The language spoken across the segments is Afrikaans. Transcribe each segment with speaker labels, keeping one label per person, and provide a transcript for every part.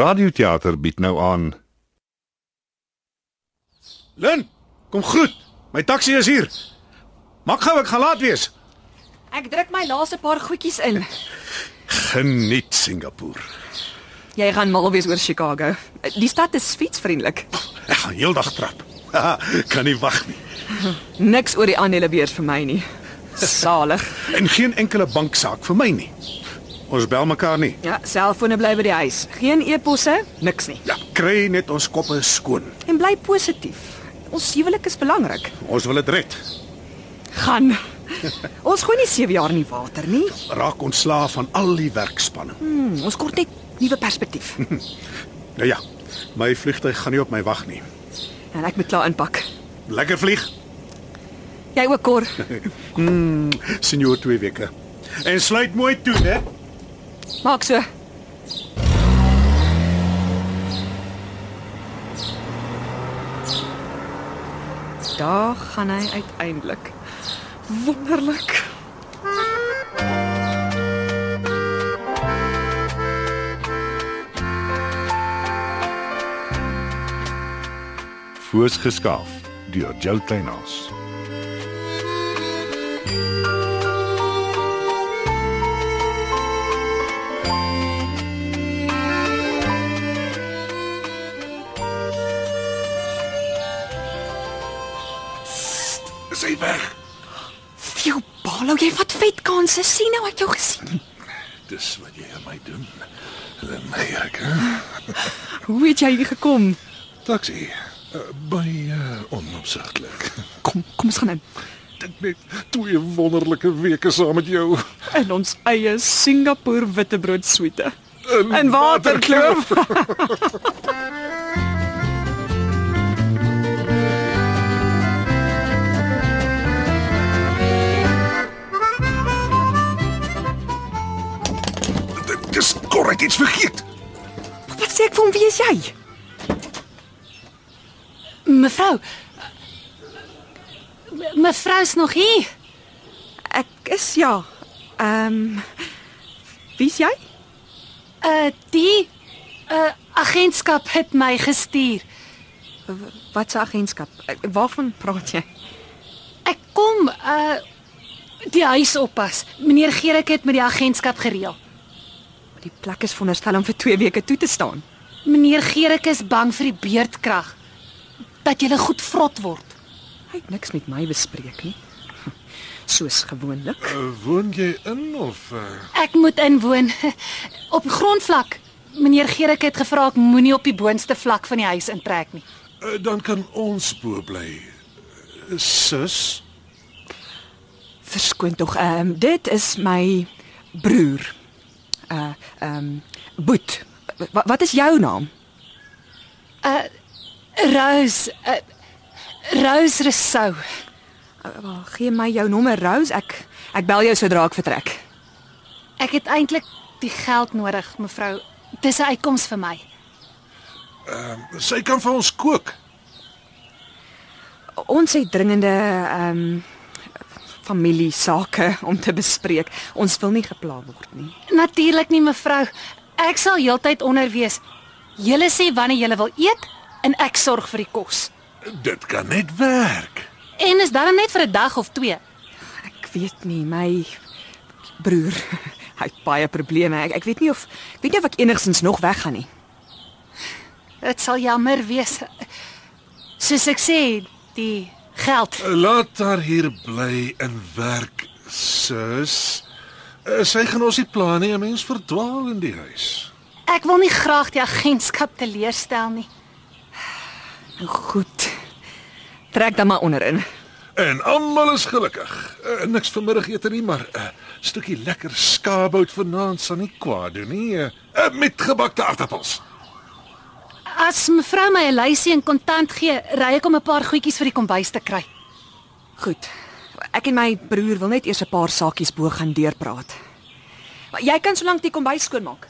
Speaker 1: Radioteater bied nou aan.
Speaker 2: Lin, kom groet. My taxi is hier. Maak gou, ek gaan laat wees.
Speaker 3: Ek druk my laaste paar goedjies in.
Speaker 2: Geniet Singapore.
Speaker 3: Jy gaan mal wees oor Chicago. Die stad is fietsvriendelik.
Speaker 2: Ek gaan heeldag trap. Haha, kan nie wag nie.
Speaker 3: Niks oor die aandelebeurs vir my nie. Salig.
Speaker 2: En geen enkele banksaak vir my nie. Ons bel mekaar nie.
Speaker 3: Ja, selfone bly by die huis. Geen e-posse, niks nie.
Speaker 2: Ja, kry net ons koppe skoon.
Speaker 3: En bly positief. Ons huwelik is belangrik.
Speaker 2: Ons wil dit red.
Speaker 3: Gaan. Ons gooi nie 7 jaar in die water nie.
Speaker 2: Raak ontslaaf van al die werkspanning.
Speaker 3: Hmm, ons kort net nuwe perspektief.
Speaker 2: Nou ja, my vliegtyg gaan nie op my wag nie.
Speaker 3: En ek moet klaar inpak.
Speaker 2: Lekker vlieg,
Speaker 3: Jy ook, Cor.
Speaker 2: senior 2 weke. En sluit mooi toe, né?
Speaker 3: Maak so. Daar gaan hy uiteindelik. Wonderlik.
Speaker 1: Voorsgeskaaf deur Jo Kleinhans.
Speaker 2: Is hy weg?
Speaker 3: Fiu, Paulo, jy vat vet kanse. Sien nou ek jou gesien.
Speaker 2: Dis wat jy aan my doen. Hulle my ek.
Speaker 3: Hoe het jy hier gekom?
Speaker 2: Taxi. Eh, Baie eh, onopsigtelik.
Speaker 3: Kom, kom ons gaan in.
Speaker 2: Dit net twee wonderlike weke saam met jou.
Speaker 3: In ons eie Singapore witbrood suite. In Waterkloof.
Speaker 2: Dis korrek iets vergeet.
Speaker 3: Wat sê ek vir hom, wie is jy?
Speaker 4: Mevrou. Me- Mevrou is nog hier.
Speaker 3: Ek is ja. Ehm um, Wie's jy?
Speaker 4: Uh die uh agentskap het my gestuur.
Speaker 3: Wat se agentskap? Eh, Waarvan praat jy?
Speaker 4: Ek kom uh die huis oppas. Meneer Gerik het met die agentskap gereël.
Speaker 3: Die plek is veronderstel om vir 2 weke toe te staan.
Speaker 4: Meneer Gerik is bang vir die beerdkrag. Dat jy goed vrot word.
Speaker 3: Hy het niks met my bespreek nie. Soos gewoonlik.
Speaker 2: Woon jy in of uh,
Speaker 4: Ek moet inwoon op grondvlak. Meneer Gerik het gevra ek moenie op die boonste vlak van die huis intrek nie.
Speaker 2: eh, dan kan ons bo bly. Eh, Sus,
Speaker 3: Verskoon tog. Ehm um, dit is my broer. Uh ehm um, Boet. Wat, wat is jou naam?
Speaker 4: Rose uh, Rose Rousseau.
Speaker 3: Wel, gee my jou nommer Rose. Ek ek bel jou sodra ek vertrek.
Speaker 4: Ek het eintlik die geld nodig, mevrou. Dis 'n uitkoms vir my.
Speaker 2: sy kan vir ons kook.
Speaker 3: Ons het dringende ehm um, familie sake om te bespreek. Ons wil nie gepla word nie.
Speaker 4: Natuurlik nie, mevrou. Ek sal heeltyd onder wees. Julle sê wanneer julle wil eet en ek sorg vir die kos.
Speaker 2: Dit kan net werk.
Speaker 4: En is darm net vir 'n dag of twee.
Speaker 3: Ek weet nie, my broer hy het baie probleme. Ek ek weet nie of ek weet nie of ek enigstens nog weggaan nie.
Speaker 4: Dit sal jammer wees. Soos ek sê, die geld.
Speaker 2: Eh, Laat haar hier bly en werk, sus. Eh, Sy gaan ons nie pla nie, 'n mens verdwaal in die huis.
Speaker 4: Ek wil nie graag die agentskap teleurstel nie.
Speaker 3: Nou goed. Trek dan maar onderin.
Speaker 2: En almal is gelukkig. Eh, Niks vanmiddagete nie, maar 'n stukkie lekker skaapbout vanaand sal nie kwaad doen nie. eh, eh, Met gebakte aartappels.
Speaker 4: As mevrou my 'n lysie en kontant gee, ry ek om 'n paar goedjies vir die kombuis te kry.
Speaker 3: Goed. Ek en my broer wil net eers 'n paar saakies bo gaan deurpraat. Maar jy kan solank die kombuis skoonmaak.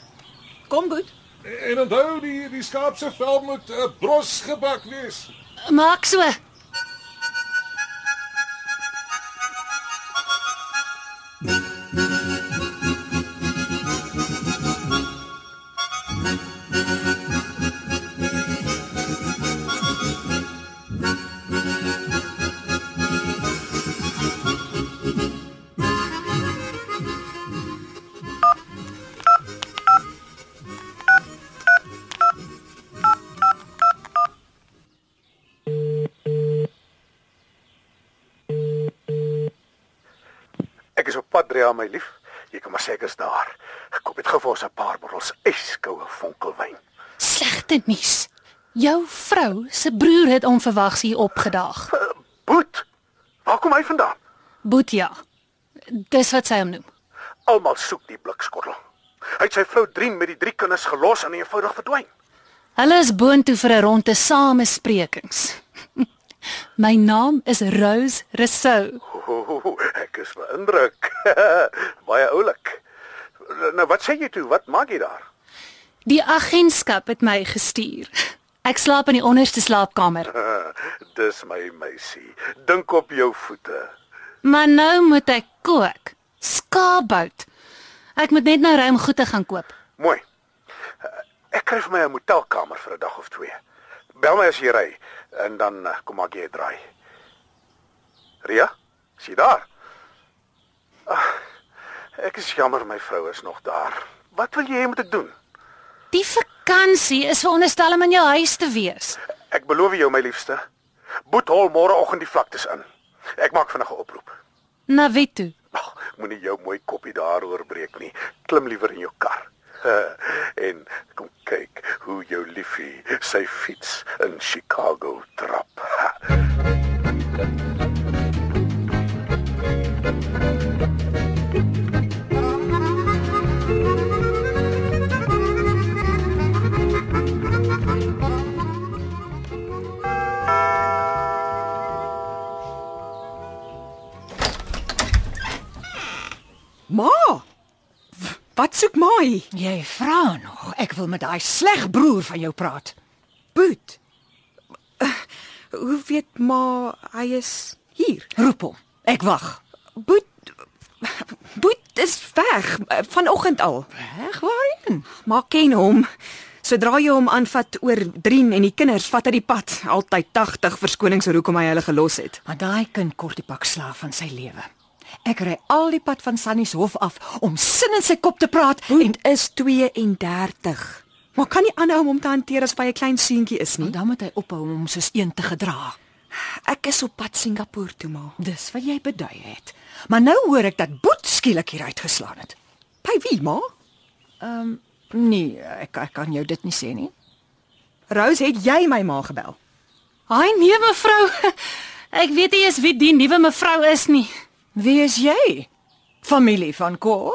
Speaker 3: Kom goed.
Speaker 2: En onthou die die skaap se vel moet uh, bros gebak wees.
Speaker 4: Maak so.
Speaker 5: Ek is op pad Drea my lief. Jy kan maar sê ek is daar. Ek koop net gou vir ons 'n paar bottels yskoue vonkelwyn.
Speaker 4: Slegte nuus. Jou vrou se broer het onverwags hier opgedaag.
Speaker 5: Boet. Waar kom hy vandaan?
Speaker 4: Boetja. Dis wat sy hom noem.
Speaker 5: Almal soek die blikskottel. Hy het sy vrou Drien met die drie kinders gelos en eenvoudig verdwyn.
Speaker 4: Hulle is boontoe vir 'n ronde samesprekings. My naam is Rose Rousseau.
Speaker 5: Ooh, ek is beïndruk. Baie oulik. Nou wat sê jy toe? Wat maak jy daar?
Speaker 4: Die agentskap het my gestuur. Ek slaap in die onderste slaapkamer,
Speaker 5: Dis my meisie. Dink op jou voete.
Speaker 4: maar nou moet ek kook. Skaapbout. Ek moet net nou ruim goede gaan koop.
Speaker 5: Mooi. Ek kry vir my 'n motelkamer vir 'n dag of twee. Bel my as jy ry en dan eh, kom maak jy 'n draai. Ria, Ah, is jy daar? Ag, ek is jammer my vrou is nog daar. Wat wil jy hê moet ek doen?
Speaker 4: Die vakansie is veronderstel om in jou huis te wees.
Speaker 5: Ek beloof jou my liefste. Boet hol môreoggend die vlaktes in. Ek maak vinnige oproep.
Speaker 4: Na wie toe?
Speaker 5: Ag, moenie jou mooi koppie daaroor breek nie. Klim liewer in jou kar. en kom kyk hoe jou liefie sy fiets in Chicago trap.
Speaker 3: Ma! w- Wat soek ma hier?
Speaker 6: Jy vra nog. Ek wil met daai sleg broer van jou praat.
Speaker 3: Boet. Hoe weet ma hy is hier?
Speaker 6: Roep hom. Ek wag.
Speaker 3: Boet Boet is weg eh, vanoggend al.
Speaker 6: Reg waarheen?
Speaker 3: Maar ken hom. Sodra jy hom aanvat oor Drien en die kinders, vat hy die pad. Altyd 80 verskonings oor hoekom hy hulle gelos het.
Speaker 6: Want daai kind kort die pak slaaf van sy lewe. Ek ry al die pad van Sannie se hof af om sin in sy kop te praat en
Speaker 3: Boet is 32. Maar kan nie aanhou om hom te hanteer as hy 'n klein seentjie is
Speaker 6: Maar
Speaker 3: nie.
Speaker 6: dan moet hy ophou om hom soos een te gedra.
Speaker 3: Ek is op pad Singapore toe maar.
Speaker 6: Dis wat jy bedui het. Maar nou hoor ek dat Boet skielik hier uitgeslaan het.
Speaker 3: By wie ma?
Speaker 6: Nee, ek ek kan jou dit nie sê nie.
Speaker 3: Rose, het jy my ma gebel?
Speaker 4: Haai nee mevrou. Ek weet nie eens wie die nuwe mevrou is nie.
Speaker 6: Wie is jy? Familie van Cor?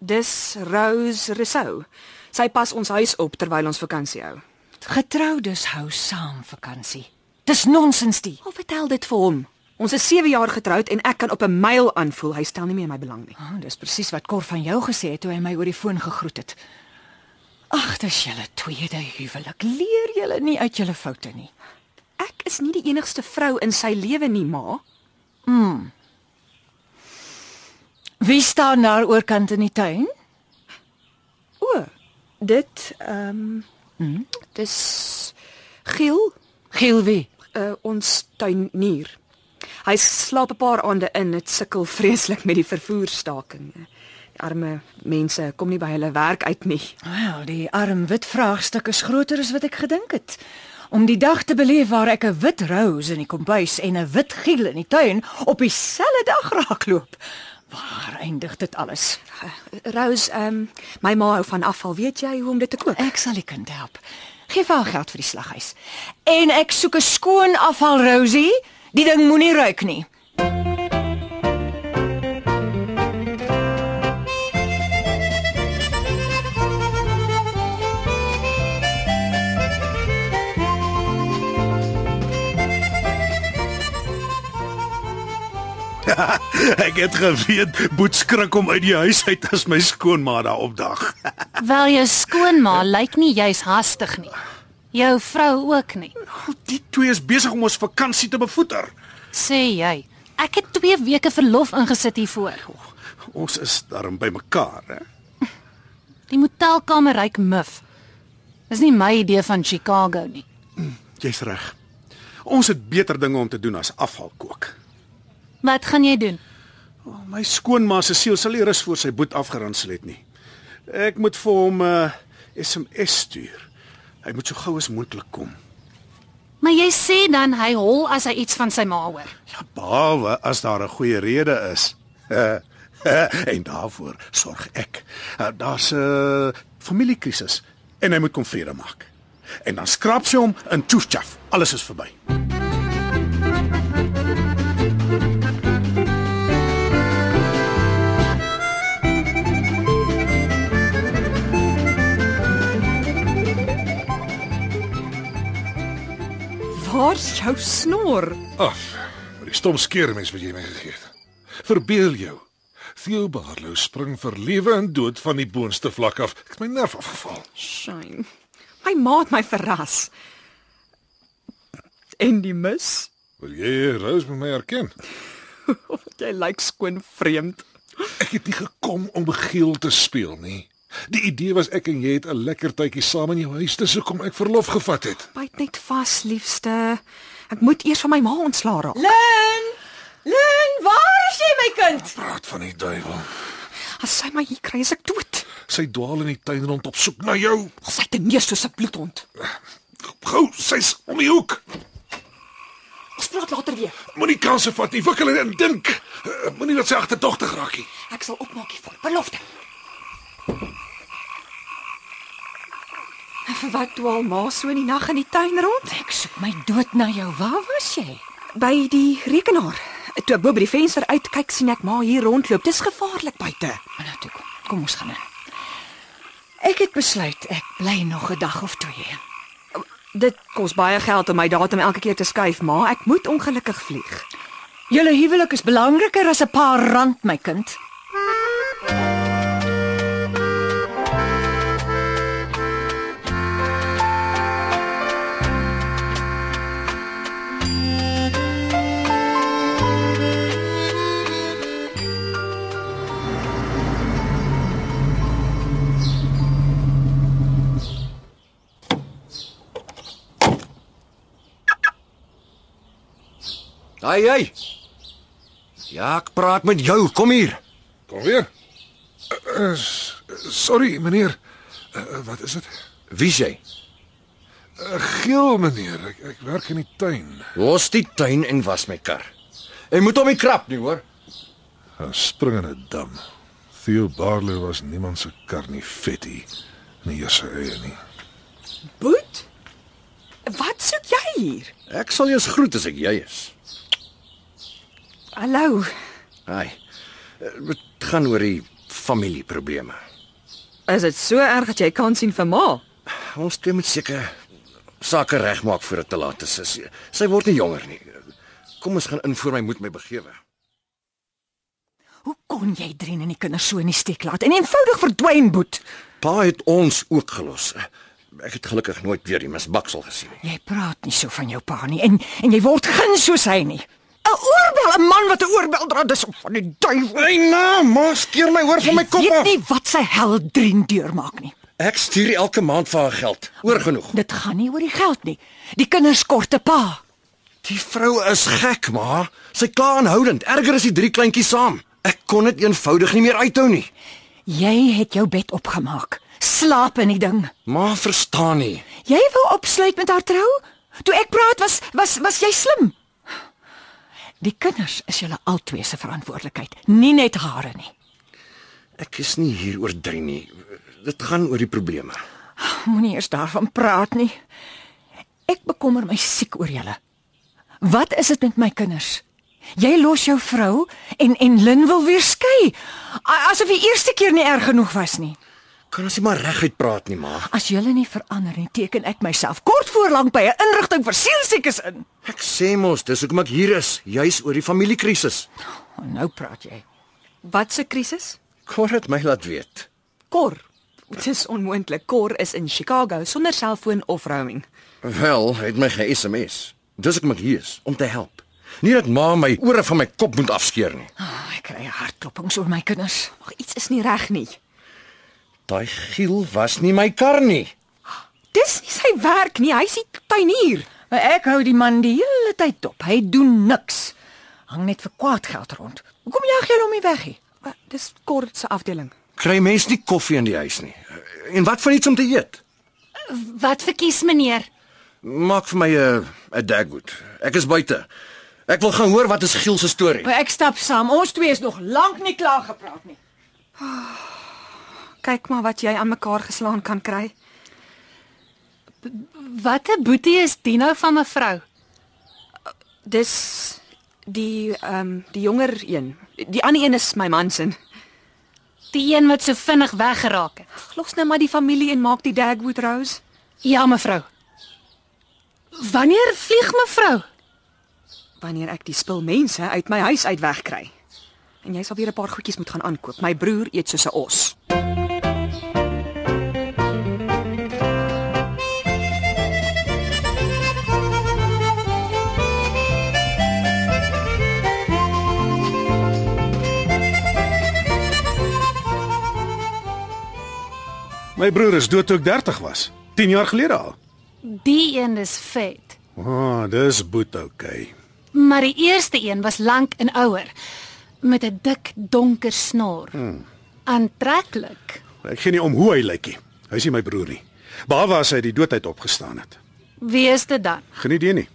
Speaker 3: Dis Rose Rousseau. Sy pas ons huis op terwyl ons vakansie hou.
Speaker 6: Getroudes hou saam vakansie. Dis nonsens die.
Speaker 3: Hoe vertel dit vir hom? Ons is 7 jaar getroud en ek kan op 'n myl aanvoel hy stel nie meer my belang nie.
Speaker 6: Oh, dis presies wat Cor van jou gesê het toe hy my oor die foon gegroet het. Ag, dis julle tweede huwelik. Leer julle nie uit julle foute nie.
Speaker 3: Ek is nie die enigste vrou in sy lewe nie, ma.
Speaker 6: Wie staan daar oorkant in die tuin?
Speaker 3: O, dit ehm um, dis Giel,
Speaker 6: Gilwie.
Speaker 3: uh, ons tuinier. Hy slaap 'n paar aande in, dit sukkel vreeslik met die vervoerstaking. Die arme mense kom nie by hulle werk uit nie.
Speaker 6: Wel, die arm wit vraagstuk is groter as wat ek gedink het. Om die dag te beleef waar ek 'n wit rose in die kombuis en 'n wit giel in die tuin op dieselfde dag raakloop. Waar eindig dit alles?
Speaker 3: Rose, ehm um, my ma hou van afval, weet jy hoe om dit te koop?
Speaker 6: Ek sal die kind help. Geef haar geld vir die slaghuis. En ek soek 'n skoon afval Rosie. Die ding moenie ruik nie.
Speaker 7: Ek het geweet Boet skrik om uit die huis uit as my skoonma daar opdag.
Speaker 4: Wel jou skoonma lyk nie juis hastig nie. Jou vrou ook nie.
Speaker 7: Die twee is besig om ons vakansie te bevoeter.
Speaker 4: Sê jy. Ek het 2 weke verlof ingesit hiervoor.
Speaker 7: Ons is daarom by mekaar, hè?
Speaker 4: Die motelkamer ryk muf. Dis nie my idee van Chicago nie.
Speaker 8: Jy's reg. Ons het beter dinge om te doen as afval kook.
Speaker 4: Wat gaan jy doen?
Speaker 8: Oh, My skoonma se siel sal nie rus voor sy boet afgeransel het nie. Ek moet vir hom 'n uh, SMS stuur. Hy moet so gou as moontlik kom.
Speaker 4: Maar jy sê dan hy hol as hy iets van sy ma hoor.
Speaker 8: Ja, behalwe as daar 'n goeie rede is. en daarvoor sorg ek. Uh, Daar's 'n familiekrisis en hy moet kom vrede maak. En dan skraap sy hom in tjoefjaf. Alles is verby.
Speaker 3: Waar's jou snor?
Speaker 7: Af. Maar die stom skeermes wat jy my gegee het. Verbeel jou. Theo Barlow spring vir lewe en dood van die boonste vlak af. Ek het my nerf afgeval.
Speaker 3: Shine. My ma het my verras. En die mis?
Speaker 7: Wil jy Rose met my erken?
Speaker 3: Of jy lyk skoon vreemd.
Speaker 7: Ek het nie gekom om begeel te speel nie. Die idee was ek en jy het 'n lekker tydjie saam in jou huis te soek om ek verlof gevat het.
Speaker 3: Byt net vas, liefste. Ek moet eers van my ma ontslaa raak.
Speaker 6: Lin! Lin, waar is jy my kind?
Speaker 7: Praat van die duiwel.
Speaker 3: As sy my hier kry, is ek dood.
Speaker 7: Sy dwaal in die tuin rond op soek na jou.
Speaker 3: Sy het neer soos 'n bloedhond.
Speaker 7: Gou, sy's om die hoek.
Speaker 3: Ons praat later weer.
Speaker 7: Moenie kanse vat nie. Wikkel en dink. Eh, Moenie dat sy agterdogtig raak nie.
Speaker 3: Ek sal opmaak hiervoor. Belofte. En Vir wat dwaal ma so in die nag in die tuin rond?
Speaker 6: Ek soek my dood na jou. Waar was jy?
Speaker 3: By die rekenaar. Toe ek bo by die venster uitkyk, sien ek ma hier rondloop. Dis gevaarlik buite.
Speaker 6: Nou toe kom. Kom ons gaan in. Ek het besluit ek bly nog 'n dag of twee.
Speaker 3: Dit kos baie geld om my datum elke keer te skuif, maar ek moet ongelukkig vlieg.
Speaker 6: Julle huwelik is belangriker as 'n paar rand, my kind.
Speaker 9: Ai ai. Ja, ek praat met jou. Kom hier.
Speaker 7: Kom weer. Uh, uh, s- sorry, meneer. Uh, uh, wat is dit?
Speaker 9: Wie sê?
Speaker 7: Uh, geel, meneer. Ek, ek werk in die tuin.
Speaker 9: Los die tuin en was my kar. Jy moet hom nie krap nie, hoor.
Speaker 7: Hy spring in 'n dam. Theo Barlow was niemand se kar nie vetie. Nie eers sy eie nie.
Speaker 3: Boet? Wat soek jy hier?
Speaker 9: Ek sal jou groet as ek jy is.
Speaker 3: Hallo.
Speaker 9: Ai. Dit gaan oor die familieprobleme.
Speaker 3: Is dit so erg dat jy kan sien vir ma?
Speaker 9: Ons twee moet seker sake regmaak voor dit te laat is. Sy, sy word nie jonger nie. Kom ons gaan in voor my moet my begewe.
Speaker 6: Hoe kon jy Drien en die kinders so in die steek laat en eenvoudig verdwyn boet?
Speaker 9: Pa het ons ook gelos. Ek het gelukkig nooit weer die misbaksel gesien nie.
Speaker 6: Jy praat nie so van jou pa nie en en jy word geen soos hy nie. 'n Oorbel, 'n man wat 'n oorbel dra, dis om van die duiwel.
Speaker 9: Hey, na, ma, skeer my oor van my kop
Speaker 6: Jy weet
Speaker 9: af.
Speaker 6: nie wat sy hel Drien deurmaak nie.
Speaker 9: Ek stuur elke maand vir haar geld. Oor genoeg.
Speaker 6: Dit gaan nie oor die geld nie. Die kinders kort 'n pa.
Speaker 9: Die vrou is gek, ma. Sy kla aanhoudend. Erger is die drie kleintjies saam. Ek kon dit eenvoudig nie meer uithou nie.
Speaker 6: Jy het jou bed opgemaak. Slaap in die ding.
Speaker 9: Ma verstaan nie.
Speaker 6: Jy wou opsluit met haar trou? Toe ek praat was was was jy slim. Die kinders is julle albei se verantwoordelikheid, nie net hare nie.
Speaker 9: Ek is nie hier oor drie nie. Dit gaan oor die probleme.
Speaker 6: Moenie eers daarvan praat nie. Ek bekommer my siek oor julle. Wat is dit met my kinders? Jy los jou vrou en en Lin wil weer skei. A- Asof die eerste keer nie erg genoeg was nie.
Speaker 9: Kan ons nie maar reguit praat nie, ma?
Speaker 6: As julle nie verander nie, teken ek myself kort voor lank by 'n inrigting vir sielsiekes in.
Speaker 9: Ek sê mos, dis hoekom ek hier is, juis oor die familiekrisis.
Speaker 6: Oh, nou praat jy.
Speaker 3: Wat se krisis?
Speaker 9: Kon dit my laat weet?
Speaker 3: Kor. Dit is onmoontlik. Kor is in Chicago sonder selfoon of roaming.
Speaker 9: Wel, hy het my ge-SMS. Dis hoekom ek hier is om te help. Nie dat ma my ore van my kop moet afskeer nie.
Speaker 6: Oh, ek kry hartklopings oor my kinders.
Speaker 3: Ag, iets is nie reg nie.
Speaker 9: Daai giel was nie my kar nie.
Speaker 3: Dis nie sy werk nie. Hy's die tuinier.
Speaker 6: Maar ek hou die man die hele tyd dop. Hy doen niks. Hang net vir kwaad geld rond. Hoekom jag jy hom nie weg nie?
Speaker 3: Uh, Dis kort se afdeling.
Speaker 9: Kry mens nie koffie in die huis nie. En wat van iets om te eet?
Speaker 4: Wat verkies meneer?
Speaker 9: Maak vir my eh, 'n 'n dagwood. Ek is buite. Ek wil gaan hoor wat is Giel se storie.
Speaker 6: Maar ek stap saam. Ons twee is nog lank nie klaar gepraat nie.
Speaker 3: Kyk maar wat jy aan mekaar geslaan kan kry.
Speaker 4: Watter boetie is Dino van mevrou?
Speaker 3: Dis die ehm um, die jonger een. Die ander een is my man se.
Speaker 4: Die een wat so vinnig weggeraak het.
Speaker 3: Glos nou maar die familie en maak die Dagwood Rose.
Speaker 4: Ja mevrou. Wanneer vlieg mevrou?
Speaker 3: Wanneer ek die spul mense uit my huis uit wegkry. En jy sal weer 'n paar goedjies moet gaan aankoop. My broer eet soos 'n os.
Speaker 8: My broer is dood toe ek 30 was. 10 jaar gelede al.
Speaker 4: Die een is vet.
Speaker 8: O, oh, dis boet okay.
Speaker 4: Maar die eerste een was lank en ouer met 'n dik donker snor. Hmm. Aantreklik.
Speaker 8: Ek gee nie om hoe hy lyk nie. Hy's nie my broer nie. Behalwe as hy die doodheid opgestaan het.
Speaker 4: Wie is dit dan?
Speaker 8: Geniet dit nie.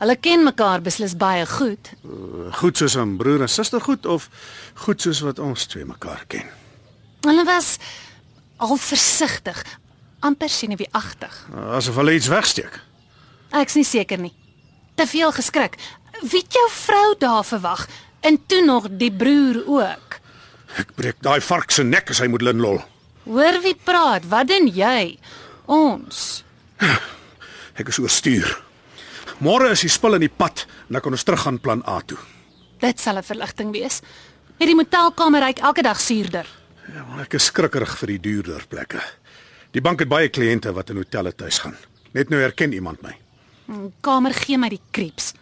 Speaker 4: Hulle ken mekaar beslis baie goed.
Speaker 8: Eh, Goed soos 'n broer en suster goed of goed soos wat ons twee mekaar ken.
Speaker 4: Hulle was al versigtig, amper senuweeagtig.
Speaker 8: Eh, Asof hulle iets wegsteek.
Speaker 4: Ek's nie seker nie. Te veel geskrik. Wie het jou vrou daar verwag? En toe nog die broer ook.
Speaker 8: Ek breek daai vark se nek as hy moet linlol.
Speaker 4: Hoor wie praat? Wat doen jy? Ons.
Speaker 8: Ek is oorstuur. Môre is die spul in die pad en dan kan ons terug gaan plan A toe.
Speaker 4: Dit sal 'n verligting wees. Hierdie motelkamer ryk elke dag suurder.
Speaker 8: Ja, maar ek is skrikkerig vir die duurder plekke. Die bank het baie kliënte wat in hotelle tuis gaan. Net nou herken iemand my.
Speaker 4: Kamer gee my die krieps.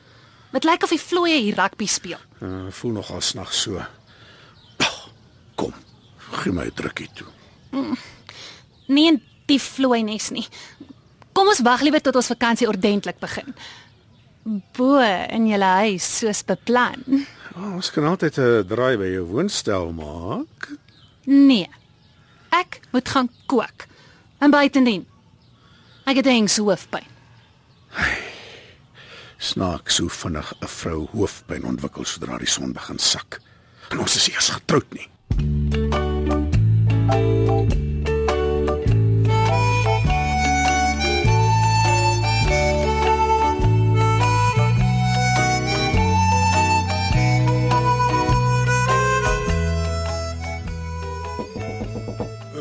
Speaker 4: Dit lyk of die vlooie hier rugby speel.
Speaker 8: Uh, voel nogal snags so. Pah, Kom. Gee my 'n drukkie toe.
Speaker 4: Nie in die vlooi nes nie. Kom ons wag liewer tot ons vakansie ordentlik begin. Bo in julle huis soos beplan.
Speaker 8: Oh, ons kan altyd 'n draai by jou woonstel maak.
Speaker 4: Nee. Ek moet gaan kook. En buitendien. Ek het eens hoofpyn.
Speaker 8: Snaaks hoe vinnig 'n vrou hoofpyn ontwikkel sodra die son begin sak. En ons is nie eens getroud nie.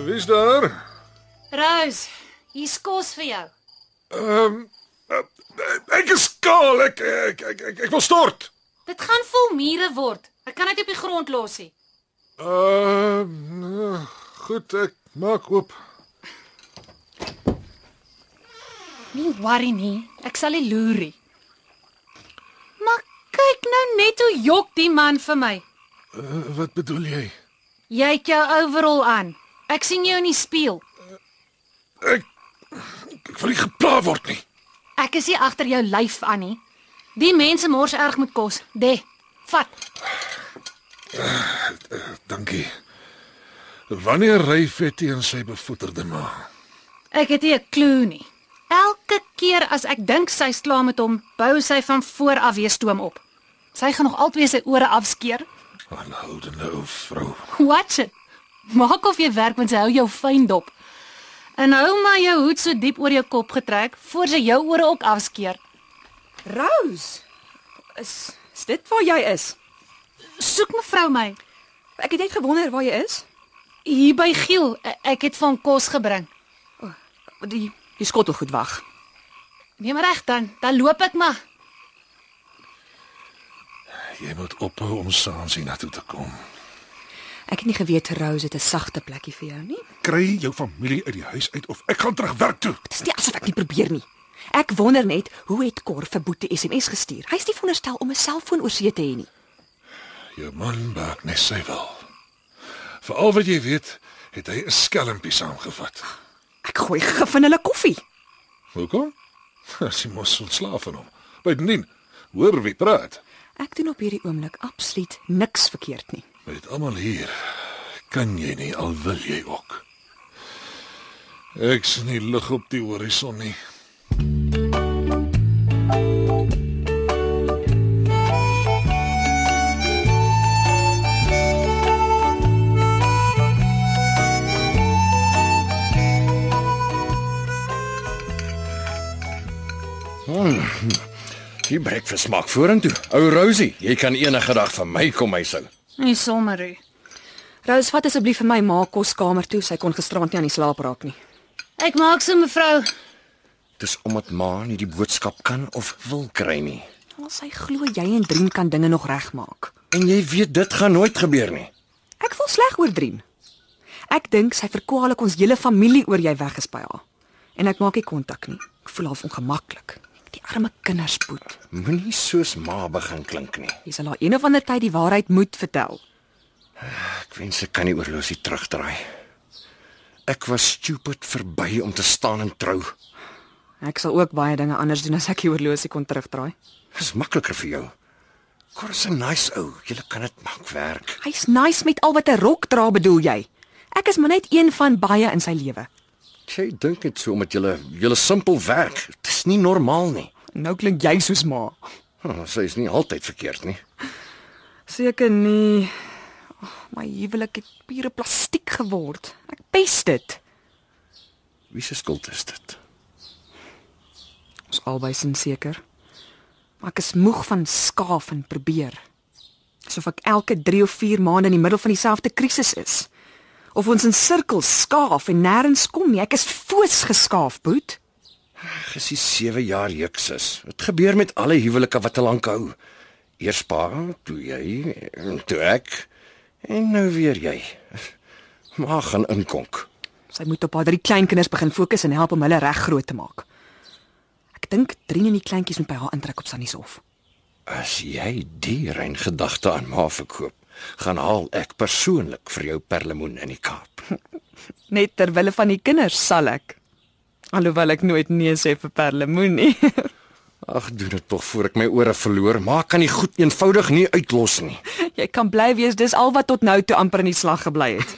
Speaker 7: Wie's daar?
Speaker 4: Rose, hier's kos vir jou.
Speaker 7: Ek is skaal. Ek ek ek, ek, ek wil stort.
Speaker 4: Dit gaan vol mure word. Ek kan dit op die grond los hê.
Speaker 7: Ehm uh, goed, ek maak oop.
Speaker 4: Nie worry nie. Ek sal nie loer nie. Maar kyk nou net hoe jok die man vir my.
Speaker 7: Uh, wat bedoel jy?
Speaker 4: Jy het jou overall aan. Ek sien jou in die spieël.
Speaker 7: Ek ek wil nie gepla word nie.
Speaker 4: Ek is hier agter jou lyf aan nie. Die mense mors erg met kos. De, vat.
Speaker 7: Dankie. Wanneer ry Fetty en sy bevoeterde ma?
Speaker 4: Ek het nie 'n klou nie. Elke keer as ek dink sy's klaar met hom, bou sy van voor af weer stoom op. Sy gaan nog altyd sy ore afskeer.
Speaker 7: Aanhoudende ou vrou.
Speaker 4: Watch it. Maak of jy werk want sy hou jou fyn dop. En hou maar jou hoed so diep oor jou kop getrek voor sy jou ore ook afskeer.
Speaker 3: Rose. Is, is dit waar jy is?
Speaker 4: Soek mevrou my
Speaker 3: Ek het net gewonder waar jy is.
Speaker 4: hier by Giel. E- Ek het van kos gebring.
Speaker 3: Die die skottelgoed wag.
Speaker 4: Neem maar reg dan, dan loop ek maar.
Speaker 7: Jy moet ophou om saans hiernatoe te kom.
Speaker 3: Ek het nie geweet Rose het 'n sagte plekkie vir jou nie.
Speaker 7: Kry jou familie uit die huis uit of ek gaan terug werk toe.
Speaker 3: Dis nie asof ek nie probeer nie. Ek wonder net hoe het Cor vir Boete SMS gestuur. Hy's nie veronderstel om 'n selfoon oor see te hê nie.
Speaker 7: Jou man maak net sy wil. Vir al wat jy weet, het hy 'n skelmpie saamgevat.
Speaker 3: Ek gooi gif in hulle koffie.
Speaker 7: Hoekom? As jy mos ontslaaf van hom. Bydien, hoor wie praat.
Speaker 3: Ek doen op hierdie oomblik absoluut niks verkeerd nie.
Speaker 7: Met almal hier kan jy nie al wil jy ook. Ek sien nie lig op die horison nie.
Speaker 9: Die breakfast maak vorentoe. Ou Rosie, jy kan enige dag van my kom huishou.
Speaker 4: Nie sommer nie.
Speaker 3: Rose, vat asseblief vir my ma koskamer toe. Sy kon gisterand nie aan die slaap raak nie.
Speaker 4: Ek maak so mevrou.
Speaker 9: Dis omdat ma nie die boodskap kan of wil kry nie.
Speaker 3: Al sy glo jy en Drien kan dinge nog regmaak.
Speaker 9: En jy weet dit gaan nooit gebeur nie.
Speaker 3: Ek voel sleg oor Drien. Ek dink sy verkwalik ons hele familie oor jy weg is by haar. En ek maak nie kontak nie. Ek voel half ongemaklik. Die arme kinderspoed.
Speaker 9: Moenie soos ma begin klink nie.
Speaker 3: Jy sal haar een of ander tyd die waarheid moet vertel.
Speaker 9: Ek wens ek kan nie oor Lucy terugdraai. Ek was stupid verby om te staan en trou.
Speaker 3: Ek sal ook baie dinge anders doen as ek die oorlosie kon terugdraai.
Speaker 9: Dis makliker vir jou. Kors 'n nice ou, jy kan dit maak werk.
Speaker 3: Hy's nice met al wat 'n rok dra, bedoel jy? Ek is maar net een van baie in sy lewe.
Speaker 9: Jy dink dit so omdat jy jy simpel werk. Dit is nie normaal nie.
Speaker 3: Nou klink jy soos ma.
Speaker 9: Oh, sy is nie altyd verkeerd nie.
Speaker 3: Seker nie. Oh, my huwelik het pure plastiek geword. Ek pes dit.
Speaker 9: Wie se skuld is dit?
Speaker 3: Ons albei sin seker. Maar ek is moeg van skaaf en probeer. Asof ek elke 3 of 4 maande in die middel van dieselfde krisis is. Of ons in sirkels skaaf en nêrens kom nie. Ek is foos geskaaf, boet.
Speaker 9: Gesie 7 jaar jeuks is. Dit gebeur met alle huwelike wat te lank hou. Eers pa, toe jy, en toe ek en nou weer jy. Maar gaan inkonk.
Speaker 3: Sy moet op haar drie kleinkinders begin fokus en help om hulle reg groot te maak. Ek dink Drien en die kleintjies moet by haar intrek op Sannieshof.
Speaker 9: As jy die rein gedagte aan ma verkoop, gaan haal ek persoonlik vir jou perlemoen in die Kaap.
Speaker 3: Net ter wille van die kinders sal ek. Alhoewel ek nooit nee sê vir Perlemoen nie.
Speaker 9: Ag, doen dit tog voor ek my ore verloor. Ma kan die goed eenvoudig nie uitlos nie.
Speaker 3: Jy kan bly wees, dis al wat tot nou toe amper in die slag gebly het.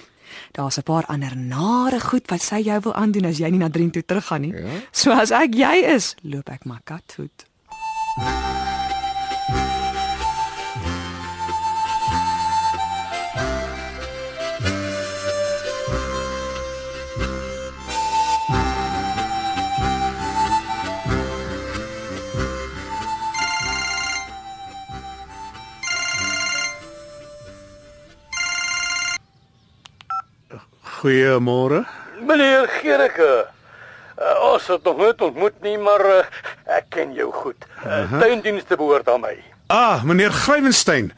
Speaker 3: Daar's 'n paar ander nare goed wat sy jou wil aandoen as jy nie na Drien toe teruggaan nie. Ja? So as ek jy is, loop ek maar katvoet.
Speaker 8: Goeiemôre.
Speaker 5: Meneer Gericke. Uh, ons het nog nooit ontmoet nie, maar uh, ek ken jou goed. Uh, tuindienste behoort aan my.
Speaker 8: Mhm. Ah, meneer Grywenstein.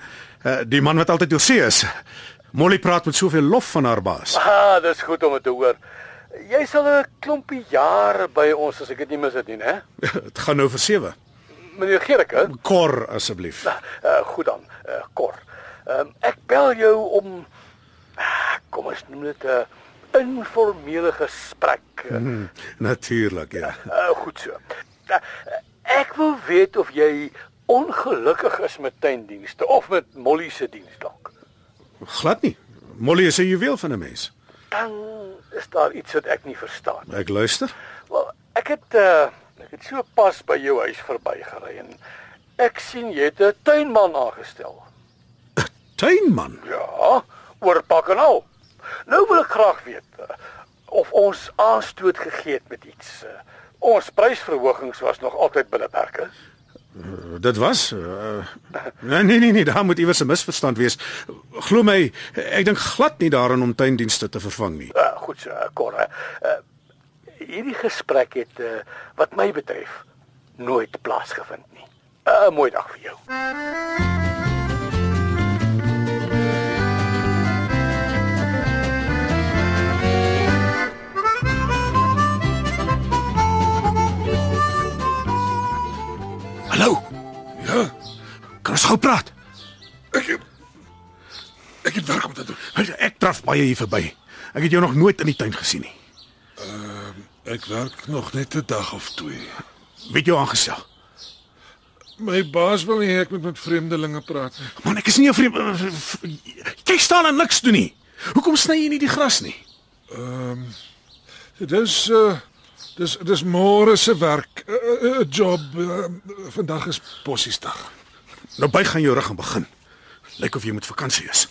Speaker 8: Uh, die man wat altyd oor see is. Molly praat met soveel lof van haar baas.
Speaker 5: Ah, dis goed om dit te hoor. Jy sal 'n klompie jare by ons as ek dit nie mis het nie, hè?
Speaker 8: Dit gaan nou vir 7.
Speaker 5: Meneer Gericke.
Speaker 8: Kor asseblief.
Speaker 5: Uh, goed dan, uh, Kor. Um, ek bel jou om ah, kom ons noem dit 'n informele gesprek. Uh,
Speaker 8: Hm, Natuurlik, ja.
Speaker 5: goed so. Uh, ek wil weet of jy ongelukkig is met tuindienste of met Molly se diens dalk.
Speaker 8: Glad nie. Molly is 'n juweel van 'n mens.
Speaker 5: Dan is daar iets wat ek nie verstaan.
Speaker 8: Ek luister.
Speaker 5: Wel, ek het uh, ek het so pas by jou huis verbygery en ek sien jy het 'n tuinman aangestel.
Speaker 8: Tuinman.
Speaker 5: Ja, oorpak en al. Nou wil ek graag weet eh, of ons aanstoot gegee het met iets. Eh, Ons prysverhogings was nog altyd binne perke.
Speaker 8: Dit was uh, nee nee nee, nee, daar moet iewers 'n misverstand wees. Glo my, ek dink glad nie daaraan om tuindienste te vervang nie.
Speaker 5: Uh, goed so, eh, Cor. eh, eh, Hierdie gesprek het eh, wat my betref nooit plaasgevind nie. 'n Mooi dag vir jou.
Speaker 8: Hallo.
Speaker 7: Ja,
Speaker 8: Kan ons gou praat?
Speaker 7: ek het, ek het werk om te doen.
Speaker 8: Ek traf baie hier verby. Ek het jou nog nooit in die tuin gesien nie.
Speaker 7: Ehm, Ek werk nog net 'n dag of twee.
Speaker 8: Weet jou aangestel.
Speaker 7: My baas wil nie hê ek moet met vreemdelinge praat nie.
Speaker 8: Man, ek is nie 'n vreemde Jy staan en niks doen nie. Hoekom sny jy nie die gras nie?
Speaker 7: Dis uh dis dis môre se werk, 'n uh, uh, job. Uh, vandag is possiesdag.
Speaker 8: Nou buig gaan jou rug en begin. Lyk of jy moet vakansie is.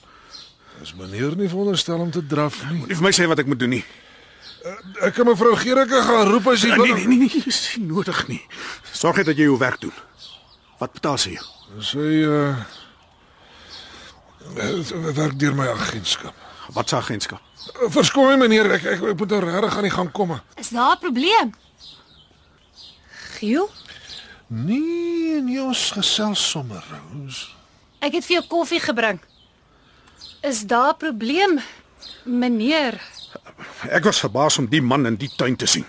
Speaker 7: Is meneer nie veronderstel om te draf nie.
Speaker 8: Moenie vir my sê wat ek moet doen nie.
Speaker 7: Ek kan mevrou Gericke gaan roep as jy
Speaker 8: Nee
Speaker 7: wil.
Speaker 8: nee nee, nee dis nie nodig nie. Sorg net dat jy jou werk doen. Wat betaal sy jou?
Speaker 7: Sy uh eh, werk deur my agentskap. Eh,
Speaker 8: Wat se agentskap?
Speaker 7: Verskoon my meneer, ek ek, ek moet nou regtig aan die gang kom.
Speaker 4: Is daar 'n probleem?
Speaker 6: Giel,
Speaker 7: Nee, nee, ons gesels sommer, Rose.
Speaker 4: Ek het vir jou koffie gebring. Is daar 'n probleem, meneer?
Speaker 8: Ek was verbaas om die man in die tuin te sien.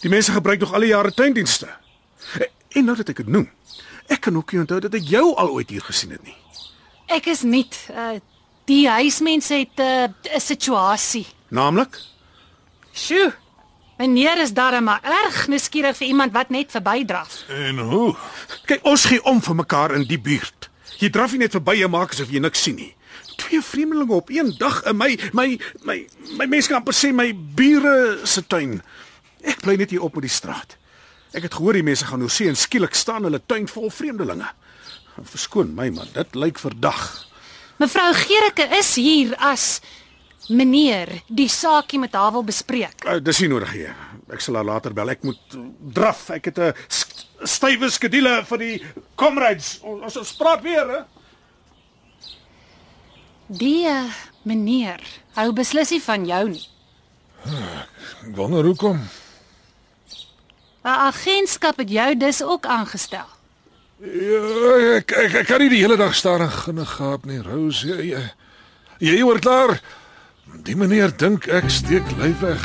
Speaker 8: Die mense gebruik nog alle jare tuindienste. En nou dat ek dit noem, ek kan ook nie onthou dat ek jou al ooit hier gesien het nie.
Speaker 4: Ek is nie uh die huismense het 'n uh, 'n situasie.
Speaker 8: Naamlik,
Speaker 4: Sjoe. Meneer is darem maar erg nuuskierig vir iemand wat net verbydraf.
Speaker 7: En hoe?
Speaker 8: kyk ons gee om vir mekaar in die buurt. Jy draf nie net verby en maak asof jy niks sien nie. Twee vreemdelinge op een dag in my my my my mense kan amper sê my bure se tuin. Ek bly net hier op met die straat. Ek het gehoor die mense gaan oor see en skielik staan hulle tuin vol vreemdelinge. Verskoon my man, dit lyk verdag.
Speaker 4: Mevrou Gericke is hier as meneer die saakie met haar wil bespreek.
Speaker 8: Uh, dis nie nodig nie. Ek sal haar later bel. Ek moet uh, draf. Ek het 'n st- stywe skedule vir die comrades. Ons ons praat weer, hè?
Speaker 4: Die uh, meneer hou beslis nie van jou nie.
Speaker 7: Ek wonder hoekom.
Speaker 4: 'n Agentskap het jou dus ook aangestel.
Speaker 7: Ja, ek, ek ek kan nie die hele dag staan en ginnig gaap nie, Rose. Jy, jy, jy hoor klaar. Die meneer dink ek steek lyf weg.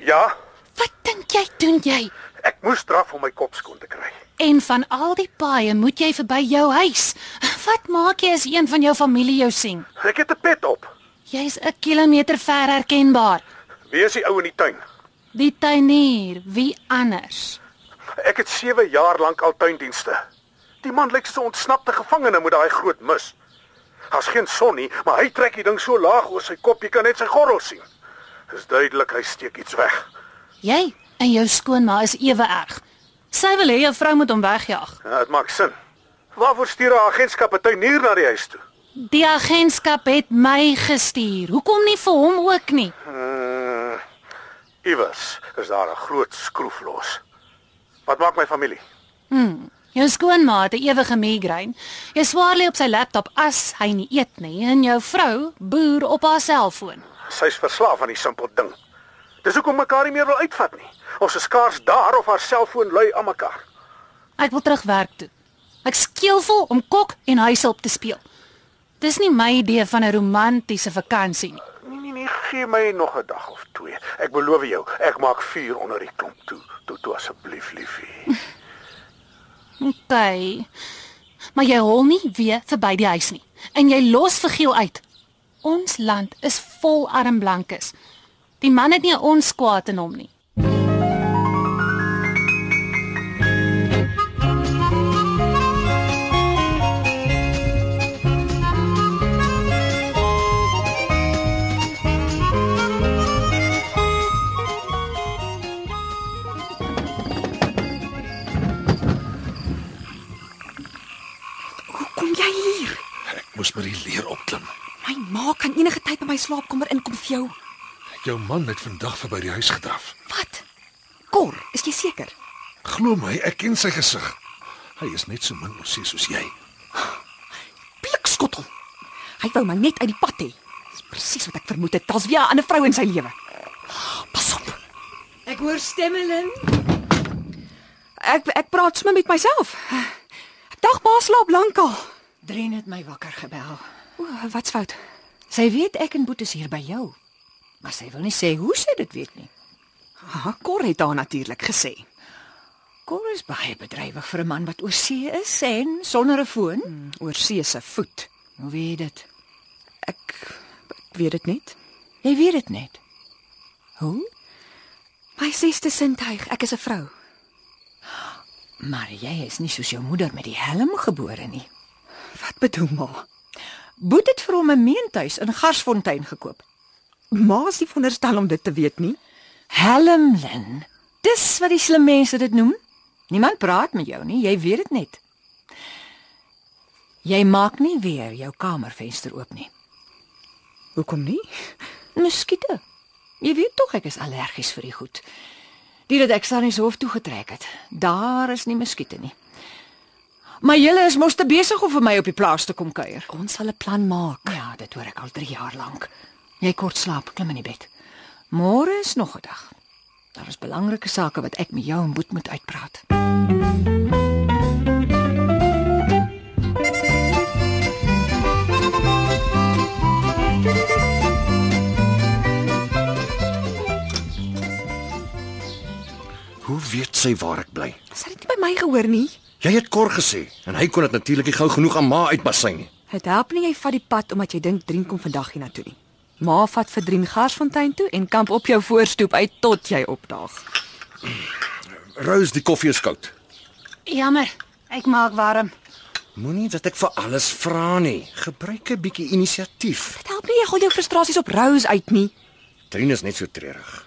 Speaker 5: Ja,
Speaker 4: Wat dink jy doen jy?
Speaker 5: ek moes draf om my kop skoon te kry.
Speaker 4: En van al die paaie moet jy verby jou huis. Wat maak jy as een van jou familie jou sien?
Speaker 5: Ek het 'n pet op.
Speaker 4: Jy's 'n kilometer ver herkenbaar.
Speaker 5: Wie is die ou in die tuin?
Speaker 4: Die tuinier, wie anders?
Speaker 5: Ek het 7 jaar lank al tuindienste. Die man lyk so 'n ontsnapte gevangene met daai groot mis. Daar's geen son nie, maar hy trek die ding so laag oor sy kop, jy kan net sy gorrel sien. Dis duidelik hy steek iets weg.
Speaker 4: Jy en jou skoonma is ewe erg. Sy wil hê jou vrou moet hom wegjaag.
Speaker 5: Ja, dit maak sin. Waarvoor stuur 'n agentskap 'n tuinier na die huis toe?
Speaker 4: Die agentskap het my gestuur. Hoekom nie vir hom ook nie?
Speaker 5: Uh, iewers is daar 'n groot skroef los. Wat maak my familie?
Speaker 4: Jou skoonma het 'n ewige migraine. Jy swaar lê op sy laptop as hy nie eet nie en jou vrou boer op haar selfoon.
Speaker 5: Sy's verslaaf aan die simpel ding. Dis hoekom mekaar nie meer wil uitvat nie. Ons is skaars daar of haar selfoon lui aan mekaar.
Speaker 4: Ek wil terug werk toe. Ek skeelvol om kok en huishulp te speel. Dis nie my idee van 'n romantiese vakansie nie.
Speaker 5: Nee nee nee, gee my nog 'n dag of twee. Ek beloof jou, ek maak vuur onder die klomp toe. Toe toe asseblief, liefie.
Speaker 4: OK. Maar jy hol nie weer verby die huis nie en jy los vergiel uit. Ons land is vol arm blankes. Die man het nie 'n ons kwaad in hom nie.
Speaker 3: Hoe kom jy hier?
Speaker 7: Ek moes by die leer opklim.
Speaker 3: My ma kan enige tyd by my slaapkamer inkom vir jou.
Speaker 7: Jou man het vandag verby die huis gedraf.
Speaker 3: Wat? Kor, is jy seker?
Speaker 7: Glo my, ek ken sy gesig. Hy is net so min osees soos jy.
Speaker 3: Blikskottel. Hy wou my net uit die pad hê. Dis presies wat ek vermoed het. Daar's weer 'n ander vrou in sy lewe. Pas op.
Speaker 6: ek hoor stemmeling.
Speaker 3: Ek ek praat sommer met myself. Ek dink ma slaap lankal.
Speaker 6: Drien het my wakker gebel.
Speaker 3: O, wat's fout?
Speaker 6: Sy weet ek en Boet is hier by jou. Maar sy wil nie sê hoe sy dit weet nie.
Speaker 10: Ha, Cor het haar natuurlik gesê.
Speaker 3: Kor is baie bedrywig vir 'n man wat oorsee is en sonder 'n foon. Hmm.
Speaker 10: Oor see se voet.
Speaker 3: Hoe weet jy dit?
Speaker 10: Ek, ek weet dit net.
Speaker 3: Jy weet dit net. Hoe?
Speaker 10: My sesde sintuig, ek is 'n vrou.
Speaker 3: Maar jy is nie soos jou moeder met die helm gebore nie.
Speaker 10: Wat bedoel ma?
Speaker 3: Boet het vir hom 'n meentuis in Garsfontein gekoop.
Speaker 10: Ma is nie veronderstel om dit te weet nie.
Speaker 3: Helmlin. Dis wat die slim mense dit noem. Niemand praat met jou nie, jy weet dit net. Jy maak nie weer jou kamervenster oop nie.
Speaker 10: Hoekom nie?
Speaker 3: Muskiete. Jy weet tog ek is allergies vir die goed. Die dat ek staan in hof toe getrek het. Daar is nie muskiete nie. Maar julle is mos te besig om vir my op die plaas te kom kuier.
Speaker 10: Ons sal 'n plan maak.
Speaker 3: Ja, dit hoor ek al 3 jaar lank. Jy kort slaap, klim in die bed. Môre is nog 'n dag. Daar is belangrike sake wat ek met jou en Boet moet uitpraat.
Speaker 9: Hoe weet sy waar ek bly?
Speaker 10: Sy het nie by my gehoor nie.
Speaker 9: Jy het kort gesê en hy kon dit natuurlik nie gou genoeg aan ma uitbasyn nie.
Speaker 10: Dit help nie jy vat die pad omdat jy dink Drien kom vandag hiernatoe nie. Ma vat vir Drien Garsfontein toe en kamp op jou voorstoep uit tot jy opdaag.
Speaker 9: Rose, die koffie is koud.
Speaker 11: Jammer, ek maak warm.
Speaker 9: Moenie dat ek vir alles vra nie. Gebruik 'n bietjie inisiatief.
Speaker 10: Dit help nie jy gooi jou frustrasies op Rose uit nie.
Speaker 9: Trine is net so treurig.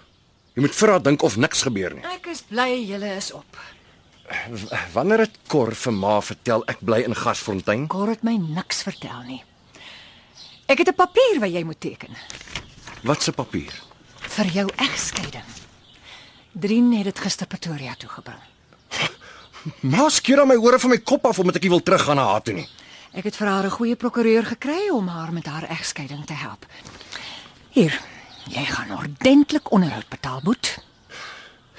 Speaker 9: Jy moet vir haar dink of niks gebeur nie.
Speaker 3: Ek is bly julle is op.
Speaker 9: Wanneer dit Cor vir ma vertel ek bly in Gasfontein,
Speaker 3: Kor het my niks vertel nie. Ek het 'n papier wat jy moet teken
Speaker 9: wat se papier?
Speaker 3: vir jou egskeiding. Drien het dit gister Pretoria toe gebring.
Speaker 9: Ma skeer aan my ore van my kop af omdat ek nie wil teruggaan na haar toe nie.
Speaker 3: Ek het vir haar 'n goeie prokureur gekry om haar met haar egskeiding te help. Hier, jy gaan ordentlik onderhoud betaal, Boet.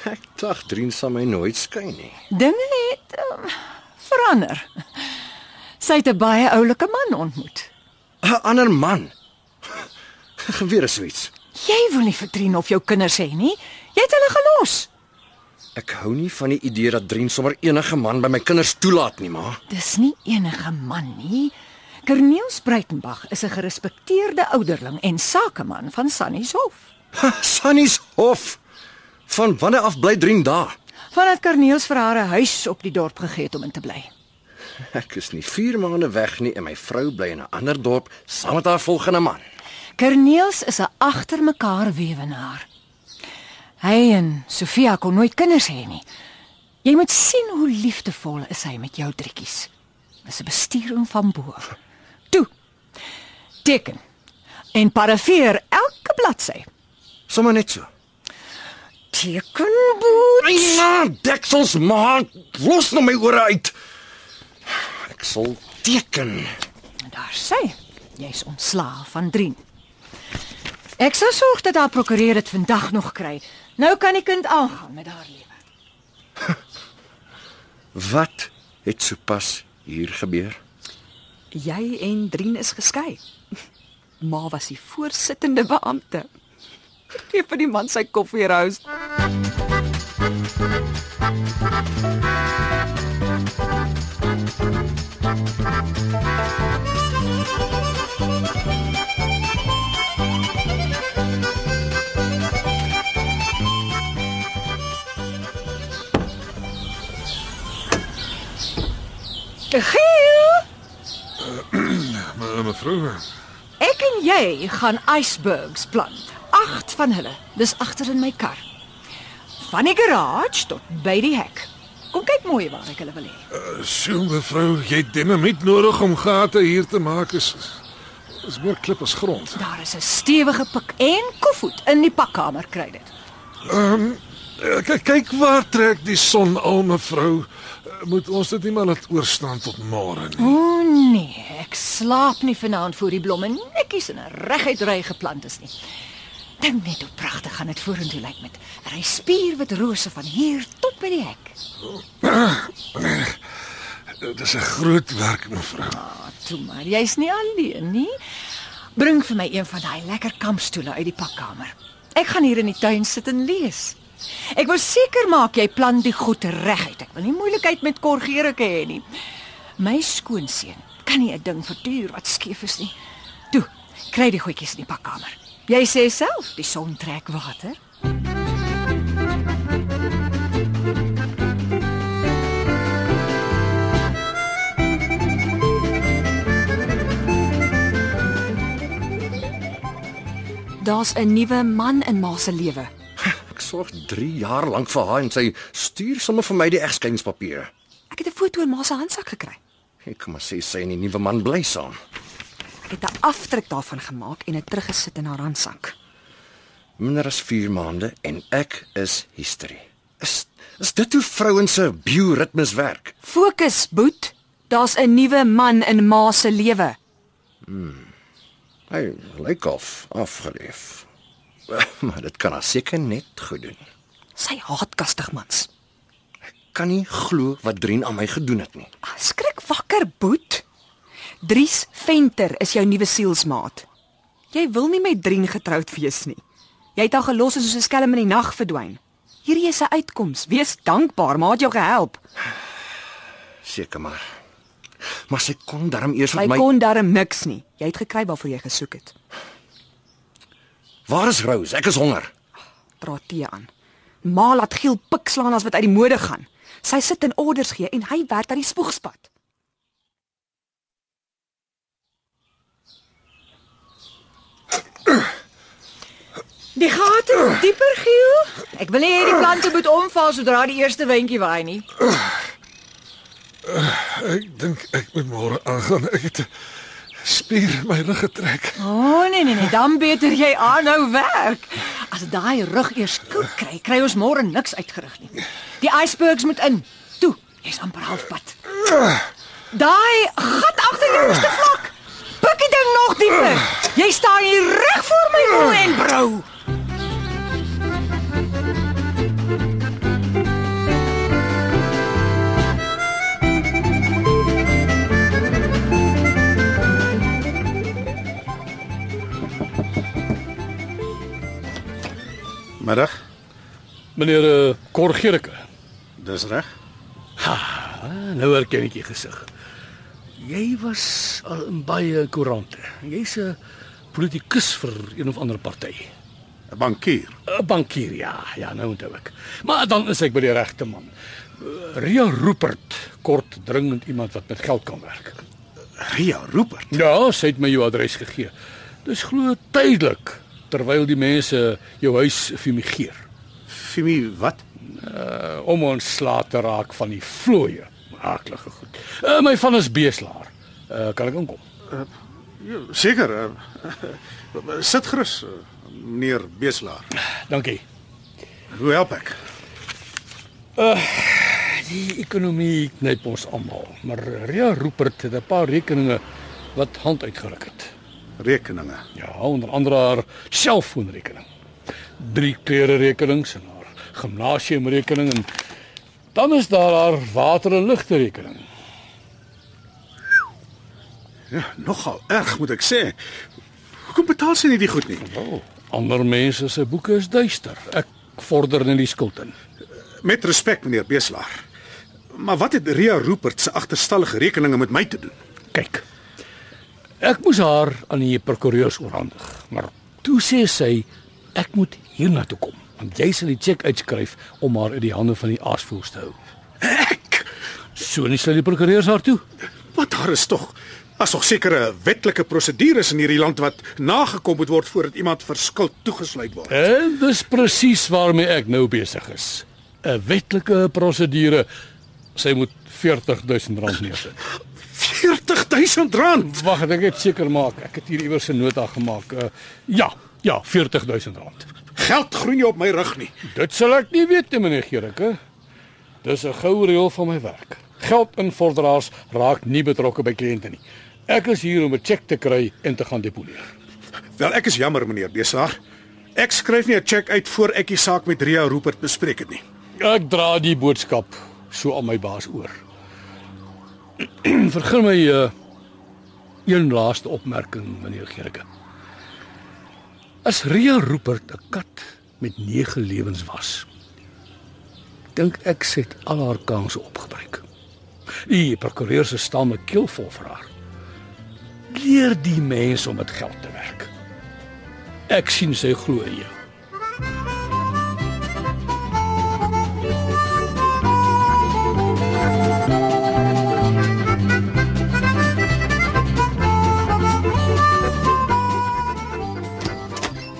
Speaker 9: Ek dink Drien sal my nooit skei nie.
Speaker 3: Dinge het um, verander. Sy het 'n baie oulike man ontmoet.
Speaker 9: 'n Ander man. Weer is so iets.
Speaker 3: Jy wil nie vir Drien of jou kinders hê nie. Jy het hulle gelos.
Speaker 9: Ek hou nie van die idee dat Drien sommer enige man by my kinders toelaat nie, ma.
Speaker 3: Dis nie enige man nie. Corneels Breitenberg is 'n gerespekteerde ouderling en sakeman van Sannies Hof.
Speaker 9: Sannie's hof. Van wanneer af bly Drien daar?
Speaker 3: Vandat Corneels vir haar 'n huis op die dorp gegee het om in te bly.
Speaker 9: Ek is nie 4 maande weg nie en my vrou bly in 'n ander dorp saam met haar volgende man.
Speaker 3: Corneels is 'n agtermekaar weewenaar. Hy en Sofia kon nooit kinders hê nie. Jy moet sien hoe liefdevol is hy met jou drietjies. Dis 'n bestuuring van bo. af. Toe. Teken. En parafeer elke bladsy.
Speaker 9: Sommige net so.
Speaker 3: Teken boet.
Speaker 9: Ja, deksels maar los nou my ore uit. Ek sal teken.
Speaker 3: Daar sê, jy's ontslaaf van Drien. Ek sal sorg dat haar prokureur dit vandag nog kry. Nou kan die kind aangaan met haar lewe.
Speaker 9: Wat het sopas hier gebeur?
Speaker 10: Jy en Drien is geskei. Ma was die voorsittende beampte. Gee vir die man sy koffie, Rose.
Speaker 3: Giel,
Speaker 12: Me- eh, Mevrou,
Speaker 3: ek en jy gaan icebergs plant. 8 van hulle. Dis agter in my kar. Van die garage tot by die hek. Kom kyk mooi waar ek hulle wil hê.
Speaker 12: so mevrou, jy het dinamiet nodig om gate hier te maak is is meer klip as grond.
Speaker 3: Daar is 'n stewige pik en koevoet in die pakkamer kry dit.
Speaker 12: Eh, Kyk kyk waar trek die son al mevrou. Eh, Moet ons dit nie maar laat oorstaan tot môre nie.
Speaker 3: O nee, ek slaap nie vanaand voor die blomme netjies in 'n reguit ry geplant is nie. Dink net hoe pragtig gaan dit vorentoe lyk met 'n ry spierwit rose van hier tot by die hek.
Speaker 12: Eh, Dis 'n groot werk mevrou.
Speaker 3: Toe maar, jy's nie alleen nie. Bring vir my een van daai lekker kampstoele uit die pakkamer. Ek gaan hier in die tuin sit en lees.
Speaker 6: Ek wil seker maak jy plan die goed reguit. Ek wil nie moeilikheid met korgerike hê nie. My skoonseun kan nie 'n ding verduur wat skeef is nie. Toe, kry die goedjies in die pakkamer. Jy sê self, die son trek water.
Speaker 3: Daar's 'n nuwe man in ma se lewe.
Speaker 9: Ek sorg 3 jaar lank vir haar en sy stuur sommer vir my die egskeidingpapiere.
Speaker 3: Ek het 'n foto in ma se handsak gekry.
Speaker 9: Ek kan maar sê sy en die nuwe man bly saam.
Speaker 3: Ek het 'n afdruk daarvan gemaak en dit teruggesit in haar handsak.
Speaker 9: Minder as 4 maande en ek is history. Is is dit hoe vrouens se bioritmes werk?
Speaker 3: Fokus, Boet. Daar's 'n nuwe man in ma se lewe.
Speaker 9: Hy lyk af afgeleef. Maar dit kan haar seker net goed doen.
Speaker 3: Sy haat kastigmans.
Speaker 9: Kan nie glo wat Drien aan my gedoen het nie.
Speaker 3: Ah, Skrik wakker, Boet. Dries Venter is jou nuwe sielsmaat. Jy wil nie met Drien getroud wees nie. Jy het haar gelos en soos 'n skelm in die nag verdwyn. Hierdie is 'n uitkoms. Wees dankbaar, maar het jou gehelp.
Speaker 9: Seker maar. Maar sy kon darm eers
Speaker 3: Sy
Speaker 9: met my
Speaker 3: kon darm niks nie. Jy het gekry waarvoor jy gesoek het.
Speaker 9: Waar is Rose? Ek is honger.
Speaker 3: Praat tee aan. Ma laat Giel pik slaan as wat uit die mode gaan. Sy sit en orders gee en hy werk aan die spoegspad.
Speaker 6: Die gate word dieper giel. Ek wil nie hê die plante moet omval sodra die eerste windjie waai nie.
Speaker 7: Ek dink ek moet môre aangaan. Ek het 'n spier in my rug getrek.
Speaker 6: O oh, nee nee nee, dan beter jy aanhou werk. As daai rug eers koud kry, kry ons môre niks uitgerig nie. Die icebergs moet in. Toe, jy's amper halfpad. Daai gat agter jou is te vlak. Pik die ding nog dieper. Jy staan hier reg voor my oë en brou.
Speaker 8: Middag.
Speaker 13: Meneer eh, Korgerike.
Speaker 8: Dis reg.
Speaker 13: Ah, nou herken ek jou gesig. Jy was al in baie koerante. Jy's 'n politikus vir een of ander party.
Speaker 8: 'n Bankier.
Speaker 13: 'n Bankier, ja, ja, nou onthou ek. Maar dan is ek by die regte man. Eh, Ria Rupert, kort dringend iemand wat met geld kan werk.
Speaker 8: Ria Rupert.
Speaker 13: Ja, sy het my jou adres gegee. Dis glo tydelik terwyl die mense jou huis fumigeer
Speaker 8: Fimi, wat?
Speaker 13: eh, om ontslae te raak van die vlooie. Aaklige goed. Uh, my van is beeslaar. Uh, kan ek inkom?
Speaker 8: Seker. eh, Sit gerus, eh, meneer Beslaar.
Speaker 13: Dankie.
Speaker 8: Hoe help ek?
Speaker 13: Die ekonomie knyp ons almal, maar Ria Rupert het 'n paar rekeninge wat hand uitgeruk het.
Speaker 8: Rekeninge.
Speaker 13: Ja, onder andere haar selfoonrekening. Drie klere rekenings en haar gimnasiumrekening en dan is daar haar water en ligte rekening.
Speaker 8: Ja, nogal erg moet ek sê. Hoekom betaal sy nie die goed nie?
Speaker 13: Oh. Ander mense se boeke is duister. Ek vorder net die skuld in.
Speaker 8: Met respek, meneer Beslaar. Maar wat het Ria Rupert se agterstallige rekeninge met my te doen?
Speaker 13: Kyk. Ek moes haar aan die prokureurs oorhandig, maar toe sê sy ek moet hiernatoe kom, want jy sal die cheque uitskryf om haar uit die hande van die aasvoëls te hou.
Speaker 8: Ek.
Speaker 13: So nie sal die prokureurs haar toe.
Speaker 8: Wat daar is tog as nog sekere wetlike prosedures in hierdie land wat nagekom moet word voordat iemand vir skuld toegesluit word.
Speaker 13: En dis presies waarmee ek nou besig is. 'n Wetlike prosedure. Sy moet R40000 neersit.
Speaker 8: R40000.
Speaker 13: Wag, ek net seker maak. Ek het hier iewers 'n nota gemaak. Uh, ja, ja, R40000.
Speaker 8: Geld groei nie op my rug nie.
Speaker 13: Dit sal ek nie weet nie, meneer Gericke. Dis 'n goue reël van my werk. Geldinvorderaars raak nie betrokke by kliënte nie. Ek is hier om 'n cheque te kry en te gaan deponeer.
Speaker 8: Wel, ek is jammer meneer Besaar. Ek skryf nie 'n cheque uit voor ek die saak met Ria Rupert bespreek het nie.
Speaker 13: Ek dra die boodskap so aan my baas oor. Vergun my uh, een laaste opmerking, meneer Gericke. As Ria Rupert 'n kat met 9 lewens was, dink ek sy het al haar kansse opgebruik. Die prokureur se stam 'n keel vol vir haar. Leer die mens om met geld te werk. Ek sien sy glo in jou.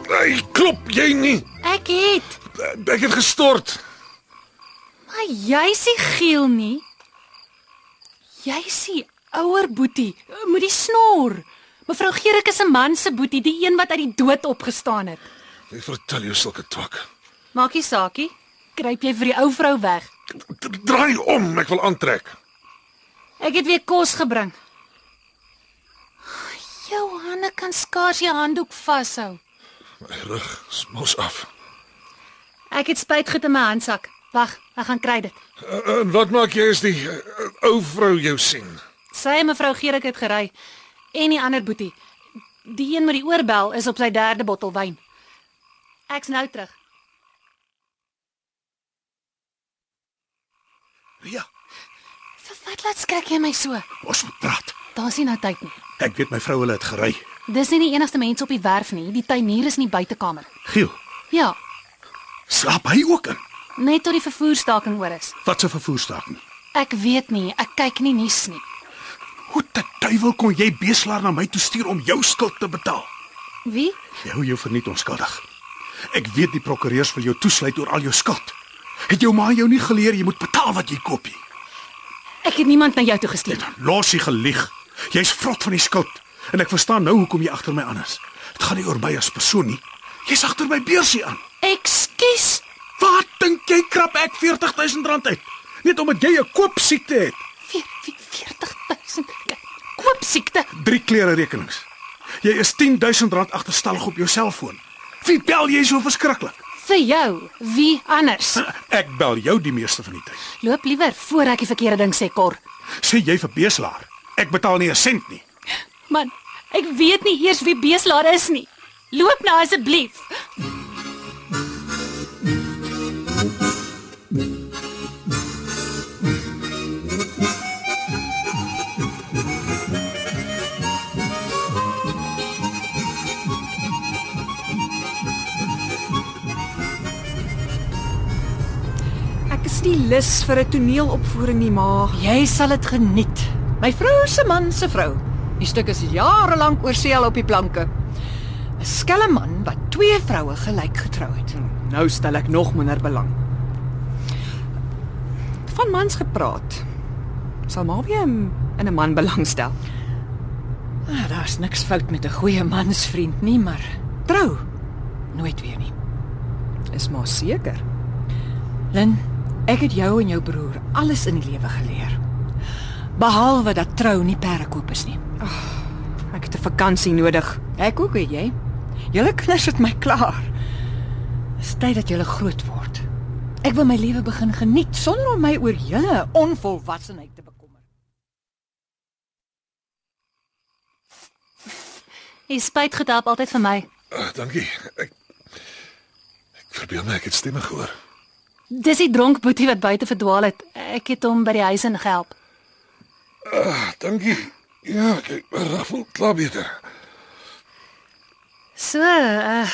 Speaker 7: Hey, klop jy nie.
Speaker 4: Ek het,
Speaker 7: Ek het gestort.
Speaker 4: maar jy's nie giel nie. Jy's die ouer boetie, moet die snor. Mevrou Gericke se man se boetie, die een wat uit die dood opgestaan het.
Speaker 7: Ek vertel jou sulke twak.
Speaker 4: Maak nie saakie. Kruip jy vir die ou vrou weg.
Speaker 7: D- Draai om, ek wil aantrek.
Speaker 4: Ek het weer kos gebring. Jou hande kan skaars jou handdoek vashou.
Speaker 7: My rug smos af.
Speaker 4: Ek het spuitgoed in my handsak. Wag, ek gaan kry dit.
Speaker 7: Uh, en wat maak jy as die uh, ou vrou jou sien?
Speaker 4: Sy en mevrou Gerik het gery en die ander boetie. Die een met die oorbel is op sy derde bottel wyn. Ek's nou terug.
Speaker 8: Ria,
Speaker 4: Vir wat laat skrik jy my so?
Speaker 8: Ja, ons moet praat.
Speaker 4: Daar's nie nou tyd nie.
Speaker 8: Ek weet my vrou hulle het gery.
Speaker 4: Dis nie die enigste mense op die werf nie. Die tuinier is in die buitekamer.
Speaker 8: Giel,
Speaker 4: Ja,
Speaker 8: slaap hy ook in?
Speaker 4: net tot die vervoerstaking oor is.
Speaker 8: Wat 'n vervoerstaking.
Speaker 4: Ek weet nie. Ek kyk nie nuus nie.
Speaker 8: Hoe te duiwel kon jy beslaar na my toe stuur om jou skuld te betaal?
Speaker 4: Wie?
Speaker 8: Jy hou jou verniet onskuldig. Ek weet die prokureurs wil jou toesluit oor al jou skuld. Het jou ma jou nie geleer jy moet betaal wat jy koop nie?
Speaker 4: Ek het niemand na jou toe gestuur.
Speaker 8: Los jy gelieg. Jy's vrot van die skuld. En ek verstaan nou hoekom jy agter my aan is. Dit gaan nie oor my as persoon nie. Jy's agter my beursie aan.
Speaker 4: Ekskuus.
Speaker 8: Waar dink jy krap ek R40000 uit? Net omdat jy 'n koopsiekte het.
Speaker 4: 40000 koop siekte.
Speaker 8: Drie klere rekenings. Jy is R10000 agterstallig op jou selfoon. Wie bel jy so verskriklik?
Speaker 4: Vir jou, wie anders?
Speaker 8: Ek bel jou die meeste van die tyd.
Speaker 4: Loop liewer voor ek die verkeerde ding sê, Kor.
Speaker 8: Sê jy vir beslaar? Ek betaal nie 'n sent nie.
Speaker 4: Man, ek weet nie eers wie beslaar is nie. Loop nou asseblief.
Speaker 3: Ek is nie lus vir 'n toneelopvoering nie, ma.
Speaker 6: Jy sal dit geniet. My vrou se man se vrou. Die stuk is jare lank oor seël op die planke. 'n Skelm man wat twee vroue gelyk getrou het.
Speaker 3: Nou stel ek nog minder belang. Van mans gepraat. Sal maar weer in 'n man belangstel.
Speaker 6: Ah, Daar's niks fout met 'n goeie mansvriend nie, maar trou nooit weer nie.
Speaker 3: Is maar seker.
Speaker 6: Lin, ek het jou en jou broer alles in die lewe geleer. Behalwe dat trou nie perdekoop is nie.
Speaker 3: Ek het 'n vakansie nodig.
Speaker 6: Ek ook, weet jy. Julle kinders het my klaar. Dis tyd dat julle groot word. Ek wil my lewe begin geniet sonder om my oor julle onvolwassenheid te bekommer.
Speaker 4: Jy spyt gedap altyd vir my.
Speaker 7: Uh, dankie. Ek Ek verbeel my ek het stemme gehoor.
Speaker 4: Dis die dronk boetie wat buite verdwaal het. Ek het hom by die huis ingehelp.
Speaker 7: Ah, dankie. Ja, kyk, raffel klaar beter.
Speaker 4: So, uh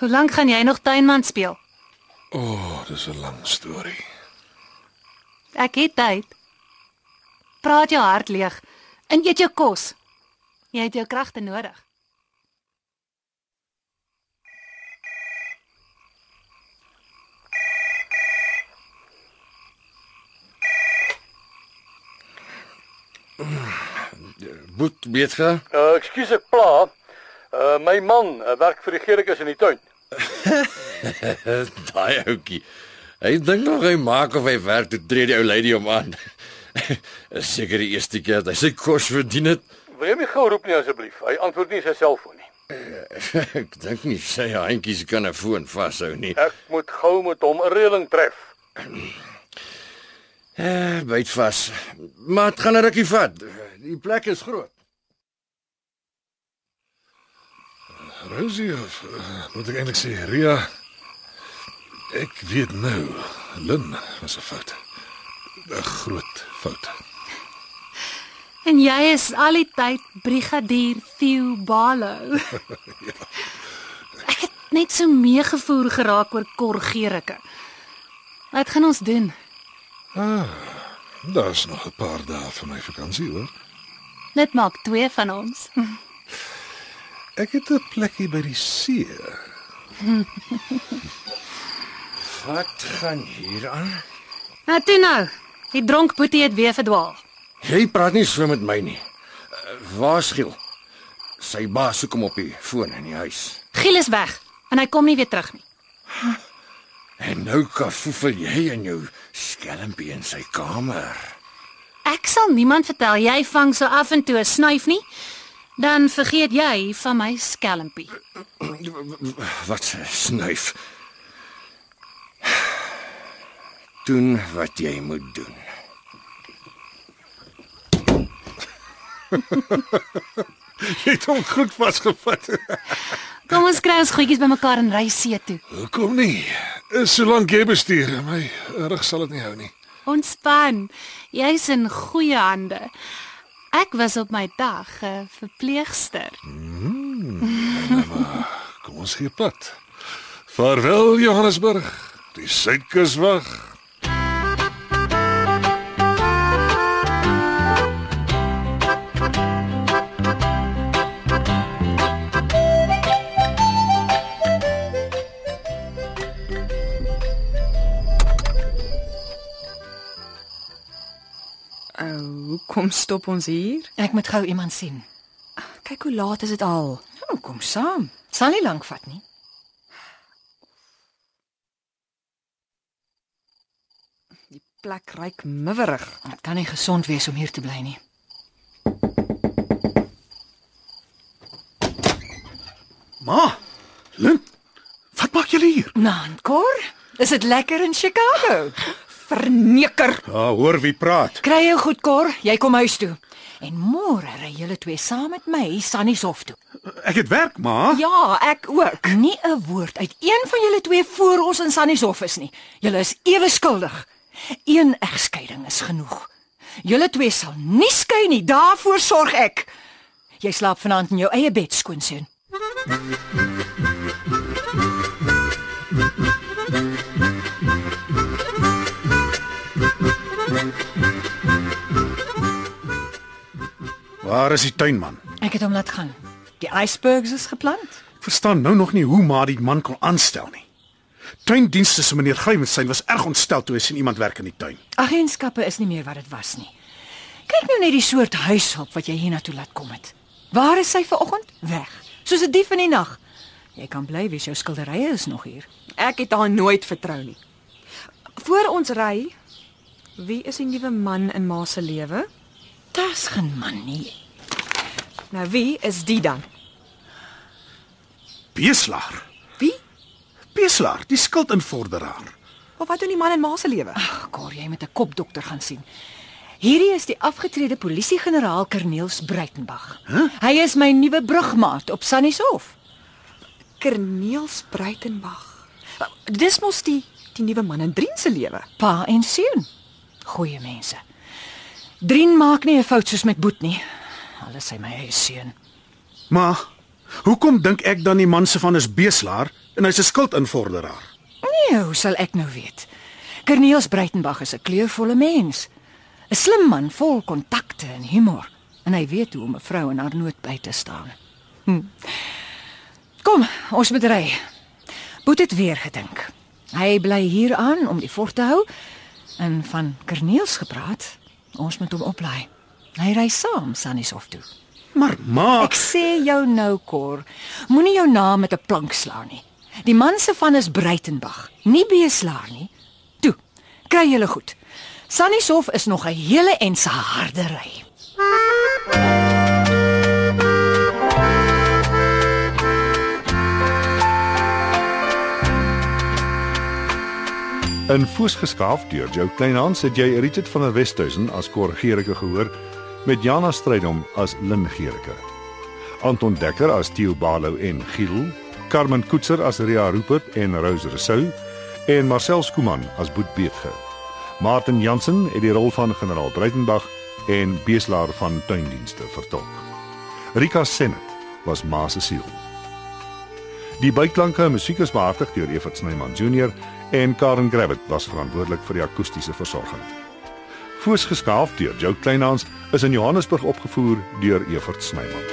Speaker 4: hoe lank gaan jy nog tuinman speel?
Speaker 7: O, oh, dis 'n lang storie.
Speaker 4: Ek het tyd. Praat jou hart leeg en eet jou kos. Jy het jou kragte nodig.
Speaker 9: Boet beetge.
Speaker 5: Uh, ekskuus ek pla. Uh, my man uh, werk vir die Gericus in die tuin.
Speaker 9: eh, Daai ouetjie. Hy dink nog hy maak of hy werk toe tree die ou lady hom aan. Is seker die eerste keer dat hy sy kos verdien het.
Speaker 5: Wil jy my gou roep nie asseblief? Hy antwoord nie sy selfoon nie.
Speaker 9: Ek dink nie sy handjies kan 'n foon vashou nie.
Speaker 5: Ek moet gou met hom 'n reëling tref.
Speaker 9: Eh, byt vas. Maar dit gaan 'n rukkie vat. Die plek is groot.
Speaker 7: Rosie of uh, moet ek eintlik sê Ria? Ek weet nou, Lin was 'n fout. 'n Groot fout.
Speaker 4: En jy is al die tyd brigadier Theo Balo. Ek het net so meegevoer geraak oor Korgerike. Wat gaan ons doen?
Speaker 7: Ah, Daar's nog 'n paar dae van my vakansie, hoor.
Speaker 4: Net maak twee van ons.
Speaker 7: Ek het 'n plekkie by die see.
Speaker 9: Wat gaan hier aan?
Speaker 4: Nou toe nou. Die dronk boetie het weer verdwaal.
Speaker 9: Jy praat nie so met my nie. Uh, Waarskynlik. Sy baas soek hom op die foon in die huis.
Speaker 4: Giel is weg en hy kom nie weer terug nie.
Speaker 9: En nou kafoefel jy in jou skelmpie in sy kamer.
Speaker 4: Ek sal niemand vertel jy vang so af en toe 'n snuif nie. Dan vergeet jy van my skelmpie.
Speaker 9: Wat 'n snuif. Doen wat jy moet doen.
Speaker 7: Jy het hom goed vasgevat.
Speaker 4: Kom ons kry ons goedjies bymekaar en ry see toe.
Speaker 7: Hoekom nie? Solank jy bestuur, my rug sal dit nie hou nie.
Speaker 4: Ontspan. Jy's in goeie hande. Ek was op my dag 'n verpleegster.
Speaker 7: Kom ons gee pad. Vaarwel Johannesburg. Die suidkus wag.
Speaker 3: Ou, hoekom stop ons hier?
Speaker 6: Ek moet gou iemand sien.
Speaker 3: Kyk hoe laat is dit al.
Speaker 6: Nou kom saam. Sal nie lank vat nie.
Speaker 3: Die plek ryk miwerig.
Speaker 6: Dit kan nie gesond wees om hier te bly nie.
Speaker 8: Ma, Lin, wat maak julle hier?
Speaker 6: Nan, Cor, is dit lekker in Chicago?
Speaker 3: Verneker.
Speaker 8: Ja, hoor wie praat.
Speaker 6: Kry jou goed, Cor. Jy kom huis toe. En môre ry julle twee saam met my Sunny Soft toe.
Speaker 8: Ek het werk, ma.
Speaker 6: Ja, ek ook. Nie 'n woord uit een van julle twee voor ons in Sunny Soft is nie. Julle is ewe skuldig. Een egskeiding is genoeg. Julle twee sal nie skei nie. Daarvoor sorg ek. Jy slaap vanaand in jou eie bed, skoonseun.
Speaker 8: Waar is die tuinman?
Speaker 6: Ek het hom laat gaan. Die icebergs is geplant.
Speaker 8: Ek verstaan nou nog nie hoe maar die man kon aanstel nie. Tuindienste se meneer Grywenstein was erg ontstel toe hy sien iemand werk in die tuin.
Speaker 6: Agentskappe is nie meer wat dit was nie. Kyk nou net die soort huishulp wat jy hiernatoe laat kom het. Waar is sy vanoggend? Weg, soos 'n dief in die nag. Jy kan bly wees jou skilderye is nog hier.
Speaker 3: Ek het haar nooit vertrou nie. Voor ons ry, wie is die nuwe man in ma se lewe?
Speaker 6: Dis geen man nie.
Speaker 3: Nou wie is die dan?
Speaker 8: Beslaar.
Speaker 3: Wie?
Speaker 8: Beslaar, die skuldinvorderaar.
Speaker 3: Of wat doen die man in ma se lewe?
Speaker 6: Ag, Cor, jy moet 'n kopdokter gaan sien. Hierdie is die afgetrede polisie-generaal Corneels Breitenberg. Huh? Hy is my nuwe brugmaat op Sannieshof.
Speaker 3: Kerneels Breitenberg. Dis mos die die nuwe man in Drien se lewe.
Speaker 6: Pa en seun. Goeie mense. Drien maak nie 'n fout soos met Boet nie. Alles sy my eie seun.
Speaker 8: Maar hoekom dink ek dan die man se van is beslaar en hy's 'n skuldinvorderaar?
Speaker 6: Nee, hoe sal ek nou weet? Corneels Breitenberg is 'n kleurvolle mens. 'n Slim man vol kontakte en humor, en hy weet hoe om 'n vrou in haar nood by te staan. Hm. Kom, ons moet ry. Boet het weer gedink. Hy bly hier aan om die fort te hou en van Corneels gepraat. Ons moet hom oplaai. Hy ry saam Sannieshof toe.
Speaker 8: Maar ma,
Speaker 6: Ek sê jou nou, Cor, moenie jou naam met 'n plank slaan nie. Die man se van is Breitenberg, nie Beeslaar nie. Toe, kry julle goed. Sannieshof is nog 'n hele en se harde ry.
Speaker 2: In voorsgeskaaf deur Jo Kleinhans het jy Richard van der Westhuizen as korrigeerike gehoor met Jana Strydom as Lin Gericke. Anton Dekker as Theo Balo en Giel, Carmen Koetser as Ria Rupert en Rose Rousseau en Marcel Skuman as Boet Beetger. Martin Jansen het die rol van generaal Breitenberg en Beeslaar van tuindienste vertolk. Rika Senet was Ma se siel. Die byklanke en musiek is behartig deur Evert Snyman Junior en Karen Gravett was verantwoordelik vir die akoestiese versorging. Voorsgeskaaf deur Jo Kleinhans is in Johannesburg opgevoer deur Evert Snyman.